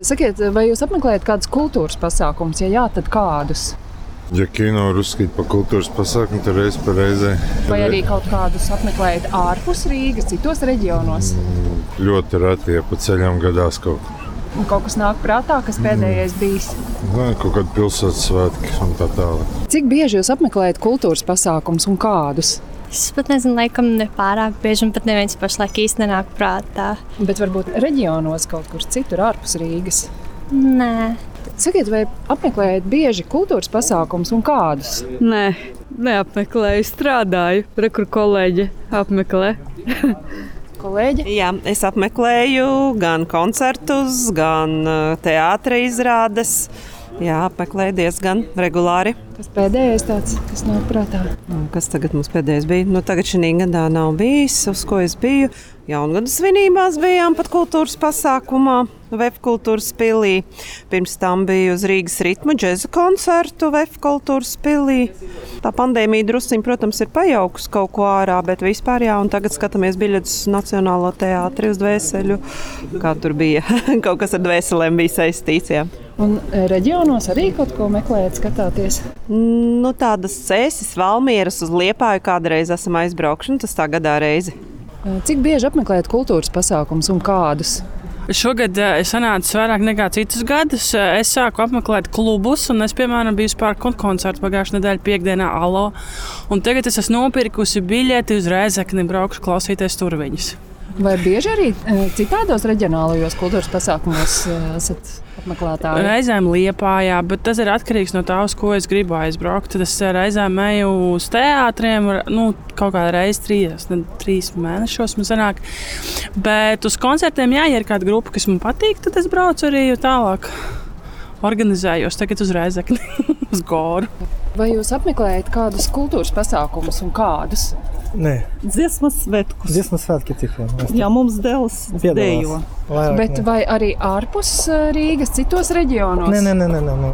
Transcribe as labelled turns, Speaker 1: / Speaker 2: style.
Speaker 1: Sakiet, vai jūs apmeklējat kādus kultūras pasākumus? Ja jā, tad kādus?
Speaker 2: Ja kino var uzskatīt par kultūras pasākumu, tad reiz par reizē
Speaker 1: Vai arī kaut kādus apmeklējat ārpus Rīgas, citos reģionos?
Speaker 2: ļoti reti ja pa ceļām gadās kaut kas.
Speaker 1: Un kaut kas nāk prātā, kas pēdējais bijis.
Speaker 2: Kaut kāda pilsētas svētki un tā tālāk.
Speaker 1: Cik bieži jūs apmeklējat kultūras pasākumus un kādus?
Speaker 3: Es pat nezinu, laikam, ne pārāk bieži, un pat neviens pašlaik īstenībā nenāk prātā.
Speaker 1: Bet varbūt reģionos kaut kur citur ārpus Rīgas.
Speaker 3: Nē,
Speaker 1: Sakiet, vai apmeklējat bieži kultūras pasākumus un kādus?
Speaker 4: Nē, neapmeklēju, strādāju. Rekur kolēģi apmeklē.
Speaker 1: Kolēģi,
Speaker 5: Jā, es apmeklēju gan koncertus, gan teātris izrādes. Jā, apmeklēju diezgan regulāri.
Speaker 1: kas pēdējais tāds, kas nāk prātā?
Speaker 5: Un Kas tagad mums pēdējais bija? Nu, tagad šī gadā nav bijis, uz ko es biju. Jaungada svinībās bijām pat kultūras pasākumā, Vēja kultūras pilī. Pirms tam bija uz Rīgas ritmu džēza koncertu Vēja kultūras pilī. Tā pandēmija druskuļi, protams, ir pajaukusi kaut ko ārā, bet vispār jā, un tagad skatāmies biļetes uz Nacionālo teātri uz dvēseli. Kā tur bija? kaut kas ar dvēselēm bija saistīts. Jā.
Speaker 1: Un e, reģionos arī kaut ko meklējat, skatāties.
Speaker 5: Nu, tādas cēsis, valmieras uz liepāju kādreiz esam aizbraukuši, un tas tā gadā reizi.
Speaker 1: E, Cik bieži apmeklējat kultūras pasākumus un kādus?
Speaker 6: Šogad eh, es sanācu vairāk nekā citus gadus. Eh, Es sāku apmeklēt klubus, un es, piemēram, biju spēku koncertu pagājušā nedēļa piekdienā Alo. Un tagad es esmu nopirkusi biļeti uz Rēzekni, braukšu klausīties tur viņus.
Speaker 1: Vai bieži arī e, citādos reģionālajos kultūras pasākumos e, esat apmeklētāji?
Speaker 6: Reizēm liepājā, bet tas ir atkarīgs no tā, uz ko es gribu aizbraukt. Tad es eh, reizēm eju uz teātriem, var- nu, kaut kādā reizē trīs, ne, trīs mēnešos man sanāk. Bet uz koncertiem, jā, ja ir kāda grupa, kas man patīk, tad es braucu arī tālāk. Organizējos tagad uz Rēzekni, uz Goru.
Speaker 1: Vai jūs apmeklējat kādus kultūras pasākumus un kādus?
Speaker 7: Nē,
Speaker 8: Dziesmas svētkus.
Speaker 7: dziesmu svētki tikai. mēs
Speaker 8: Jā, mums dēls
Speaker 7: piedalās.
Speaker 8: dejo.
Speaker 7: Vairāk
Speaker 1: Bet
Speaker 7: ne.
Speaker 1: vai arī ārpus e, Rīgas, citos reģionos?
Speaker 7: Nē, nē, nē, nē, nē, nē.